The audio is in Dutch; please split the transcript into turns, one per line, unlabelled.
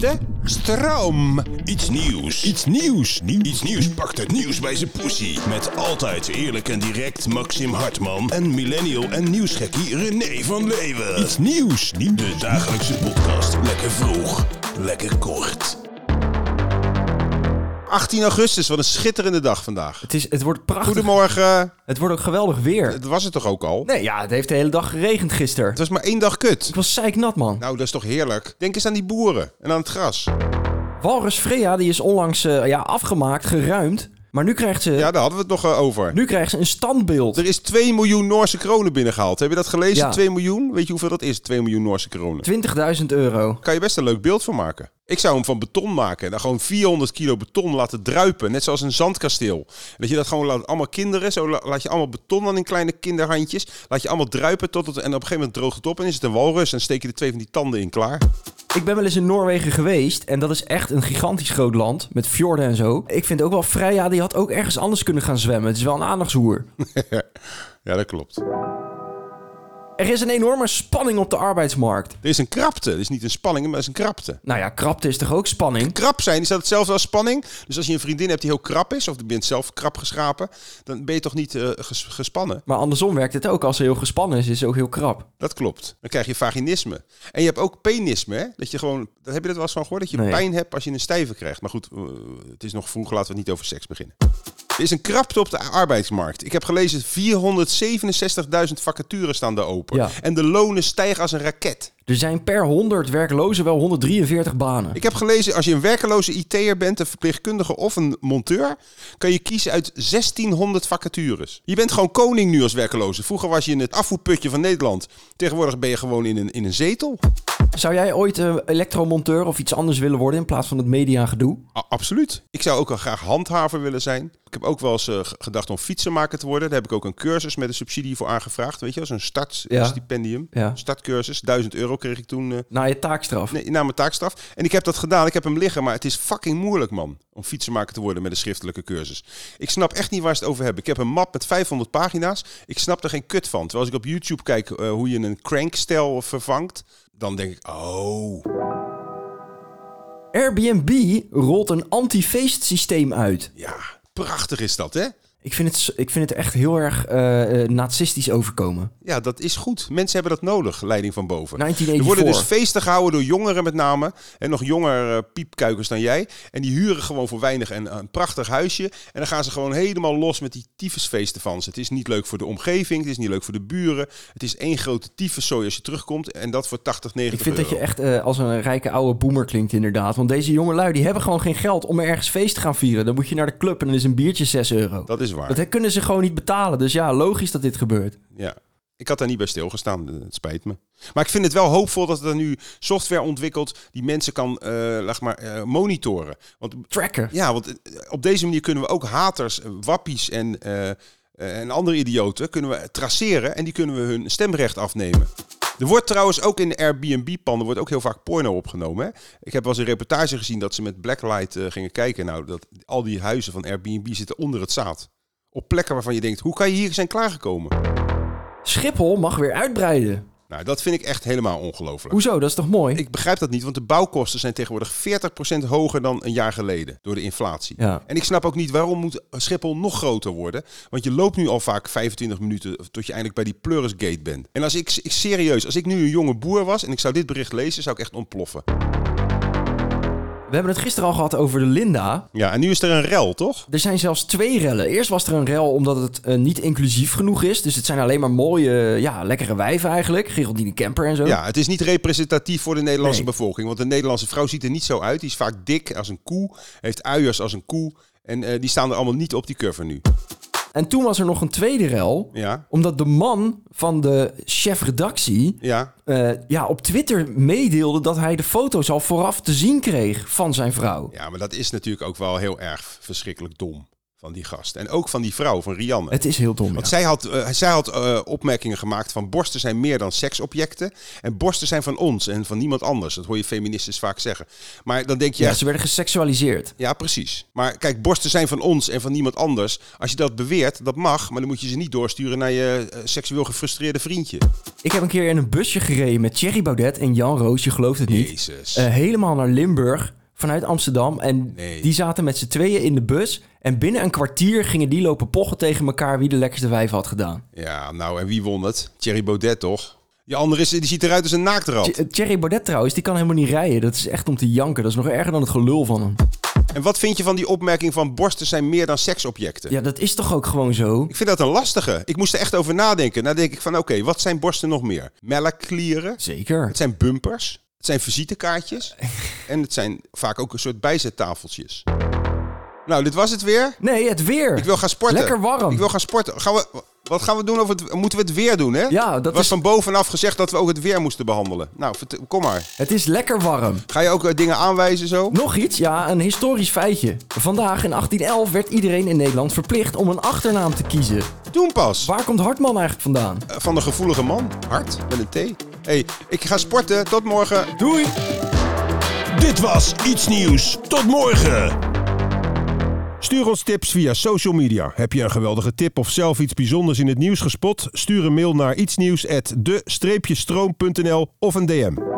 De stroom.
Iets nieuws.
Iets nieuws. Nieuw.
Iets nieuws pakt het nieuws bij zijn poesie. Met altijd eerlijk en direct Maxim Hartman en millennial en nieuwsgekkie René van Leeuwen.
Iets nieuws. Nieuw.
De dagelijkse podcast. Lekker vroeg, lekker kort.
18 augustus, wat een schitterende dag vandaag.
Het, is, het wordt prachtig.
Goedemorgen.
Het wordt ook geweldig weer.
Dat was het toch ook al?
Nee, ja, het heeft de hele dag geregend gisteren.
Het was maar één dag kut.
Ik was zeiknat, man.
Nou, dat is toch heerlijk. Denk eens aan die boeren en aan het gras. Nou.
Walrus Freya die is onlangs eh, ja, afgemaakt, geruimd. Maar nu krijgt, ze,
Ja, daar hadden we het nog eh, over.
nu krijgt ze een standbeeld.
Er is 2 miljoen Noorse kronen binnengehaald. Heb je dat gelezen?
Ja.
2 miljoen? Weet je hoeveel dat is? 2 miljoen Noorse kronen.
20.000 euro.
Kan je best een leuk beeld van maken. Ik zou hem van beton maken. En dan gewoon 400 kilo beton laten druipen. Net zoals een zandkasteel. En dat je dat gewoon laat. Allemaal kinderen. Zo la- laat je allemaal beton dan in kleine kinderhandjes. Laat je allemaal druipen tot het. En op een gegeven moment droogt het op. En is het een walrus. En steek je de twee van die tanden in klaar.
Ik ben wel eens in Noorwegen geweest. En dat is echt een gigantisch groot land. Met fjorden en zo. Ik vind ook wel Freya, die had ook ergens anders kunnen gaan zwemmen. Het is wel een aandachtshoer.
Ja, dat klopt. Er
Er is een enorme spanning op de arbeidsmarkt.
is een krapte. Het is niet een spanning, maar het is een krapte.
Nou ja, krapte is toch ook spanning?
Krap zijn is dat hetzelfde als spanning. Dus als je een vriendin hebt die heel krap is. Of je bent zelf krap geschrapen. Dan ben je toch niet eh, ges- gespannen.
Maar andersom werkt het ook. Als ze heel gespannen is, is ze ook heel krap.
Dat klopt. Dan krijg je vaginisme. En je hebt ook penisme, hè? Dat je gewoon, dat heb je dat wel eens van gehoord? Dat je
Nee.
pijn hebt als je een stijve krijgt. Maar goed, eh, het is nog vroeg, laten we niet over seks beginnen. Er is een krapte op de arbeidsmarkt. Ik heb gelezen, 467.000 vacatures staan daar open.
Ja.
En de lonen stijgen als een raket.
Er zijn per 100 werklozen wel 143 banen.
Ik heb gelezen, als je een werkeloze IT'er bent, een verpleegkundige of een monteur, kan je kiezen uit 1600 vacatures. Je bent gewoon koning nu als werkeloze. Vroeger was je in het afvoerputje van Nederland. Tegenwoordig ben je gewoon in een, in een zetel.
Zou jij ooit eh, elektromonteur of iets anders willen worden in plaats van het media gedoe?
A- absoluut. Ik zou ook wel graag handhaver willen zijn. Ik heb ook wel eens eh, g- gedacht om fietsenmaker te worden. Daar heb ik ook een cursus met een subsidie voor aangevraagd. Weet je wel, zo'n
Ja.
startstipendium.
Ja.
Startcursus, 1000 euro kreeg ik toen eh,
Na je taakstraf.
nee, na mijn taakstraf. En ik heb dat gedaan, ik heb hem liggen. Maar het is fucking moeilijk, man, om fietsenmaker te worden met een schriftelijke cursus. Ik snap echt niet waar ze het over hebben. Ik heb een map met 500 pagina's. Ik snap er geen kut van. Terwijl als ik op YouTube kijk eh, hoe je een crankstel vervangt, dan denk ik, oh...
Airbnb rolt een anti-feestsysteem uit.
Ja, prachtig is dat, hè?
Ik vind het, s- ik vind het echt heel erg eh, eh, nazistisch overkomen.
Ja, dat is goed. Mensen hebben dat nodig, leiding van boven. Er
1984.
worden dus feesten gehouden door jongeren met name. En nog jonger eh, piepkuikers dan jij. En die huren gewoon voor weinig en eh, een prachtig huisje. En dan gaan ze gewoon helemaal los met die tyfusfeesten van ze. Het is niet leuk voor de omgeving. Het is niet leuk voor de buren. Het is één grote tyfuszooi als je terugkomt. En dat voor 80, 90
Ik vind dat
euro.
je echt eh, als een rijke oude boemer klinkt inderdaad. Want deze jonge lui die hebben gewoon geen geld om ergens feest te gaan vieren. Dan moet je naar de club en dan is een biertje 6 euro.
Dat is waar.
Dat kunnen ze gewoon niet betalen. Dus ja, logisch dat dit gebeurt.
Ja. Ik had daar niet bij stilgestaan, eh, het spijt me. Maar ik vind het wel hoopvol dat er nu software ontwikkelt die mensen kan eh, laat maar, eh, monitoren. Want
Tracker.
Ja, want eh, op deze manier kunnen we ook haters, eh, wappies en, eh, eh, en andere idioten kunnen we traceren en die kunnen we hun stemrecht afnemen. Er wordt trouwens ook in de Airbnb-panden wordt ook heel vaak porno opgenomen. Hè? Ik heb wel eens een reportage gezien dat ze met blacklight eh, gingen kijken. Nou, dat al die huizen van Airbnb zitten onder het zaad. Op plekken waarvan je denkt, hoe kan je hier zijn klaargekomen?
Schiphol mag weer uitbreiden.
Nou, dat vind ik echt helemaal ongelooflijk.
Hoezo? Dat is toch mooi?
Ik begrijp dat niet, want de bouwkosten zijn tegenwoordig 40% hoger dan een jaar geleden door de inflatie.
Ja.
En ik snap ook niet waarom moet Schiphol nog groter worden. Want je loopt nu al vaak 25 minuten tot je eindelijk bij die Pleurisgate bent. En als ik, ik serieus, als ik nu een jonge boer was en ik zou dit bericht lezen, zou ik echt ontploffen.
We hebben het gisteren al gehad over de Linda.
Ja, en nu is er een rel, toch?
Er zijn zelfs twee rellen. Eerst was er een rel omdat het eh, niet inclusief genoeg is. Dus het zijn alleen maar mooie, ja, lekkere wijven eigenlijk. Geraldine Kemper en zo.
Ja, het is niet representatief voor de Nederlandse
Nee.
bevolking. Want de Nederlandse vrouw ziet er niet zo uit. Die is vaak dik als een koe, heeft uiers als een koe. En eh, die staan er allemaal niet op die cover nu.
En toen was er nog een tweede rel.
Ja,
Omdat de man van de chef-redactie
ja.
eh, ja, op Twitter meedeelde dat hij de foto's al vooraf te zien kreeg van zijn vrouw.
Ja, maar dat is natuurlijk ook wel heel erg verschrikkelijk dom van die gast. En ook van die vrouw, van Rianne.
Het is heel dom.
Want
ja.
zij had, eh, zij had eh, opmerkingen gemaakt van borsten zijn meer dan seksobjecten. En borsten zijn van ons en van niemand anders. Dat hoor je feministes vaak zeggen. Maar dan denk je
Ja,
echt,
ze werden geseksualiseerd.
ja precies. Maar kijk, borsten zijn van ons en van niemand anders. Als je dat beweert, dat mag. Maar dan moet je ze niet doorsturen naar je eh, seksueel gefrustreerde vriendje.
Ik heb een keer in een busje gereden met Thierry Baudet en Jan Roos, je gelooft het niet.
Jezus.
Eh, helemaal naar Limburg vanuit Amsterdam. En
Nee.
die zaten met z'n tweeën in de bus. En binnen een kwartier gingen die lopen pochen tegen elkaar wie de lekkerste wijf had gedaan.
Ja, nou en wie won het? Thierry Baudet toch? Die andere is, die ziet eruit als een naaktrad.
Th- eh, Thierry Baudet trouwens, die kan helemaal niet rijden. Dat is echt om te janken. Dat is nog erger dan het gelul van hem.
En wat vind je van die opmerking van borsten zijn meer dan seksobjecten?
Ja, dat is toch ook gewoon zo?
Ik vind dat een lastige. Ik moest er echt over nadenken. Nou denk ik van oké, wat zijn borsten nog meer? Melkklieren,
Zeker.
het zijn bumpers, het zijn visitekaartjes en het zijn vaak ook een soort bijzettafeltjes. Nou, dit was het weer.
Nee, het weer.
Ik wil gaan sporten.
Lekker warm.
Ik wil gaan sporten. Gaan we, wat gaan we doen over het, moeten we het weer doen hè?
Ja, dat
was
is-
van bovenaf gezegd dat we ook het weer moesten behandelen. Nou, vert- kom maar.
Het is lekker warm.
Ga je ook eh, dingen aanwijzen zo?
Nog iets, ja, een historisch feitje. Vandaag in 1811 werd iedereen in Nederland verplicht om een achternaam te kiezen.
Doen pas.
Waar komt Hartman eigenlijk vandaan?
Eh, Van de gevoelige man. Hart met een T. hey, ik ga sporten. Tot morgen.
Doei!
Dit was Iets Nieuws. Tot morgen.
Stuur ons tips via social media. Heb je een geweldige tip of zelf iets bijzonders in het nieuws gespot? Stuur een mail naar ietsnieuws@de-stroom.nl of een DM.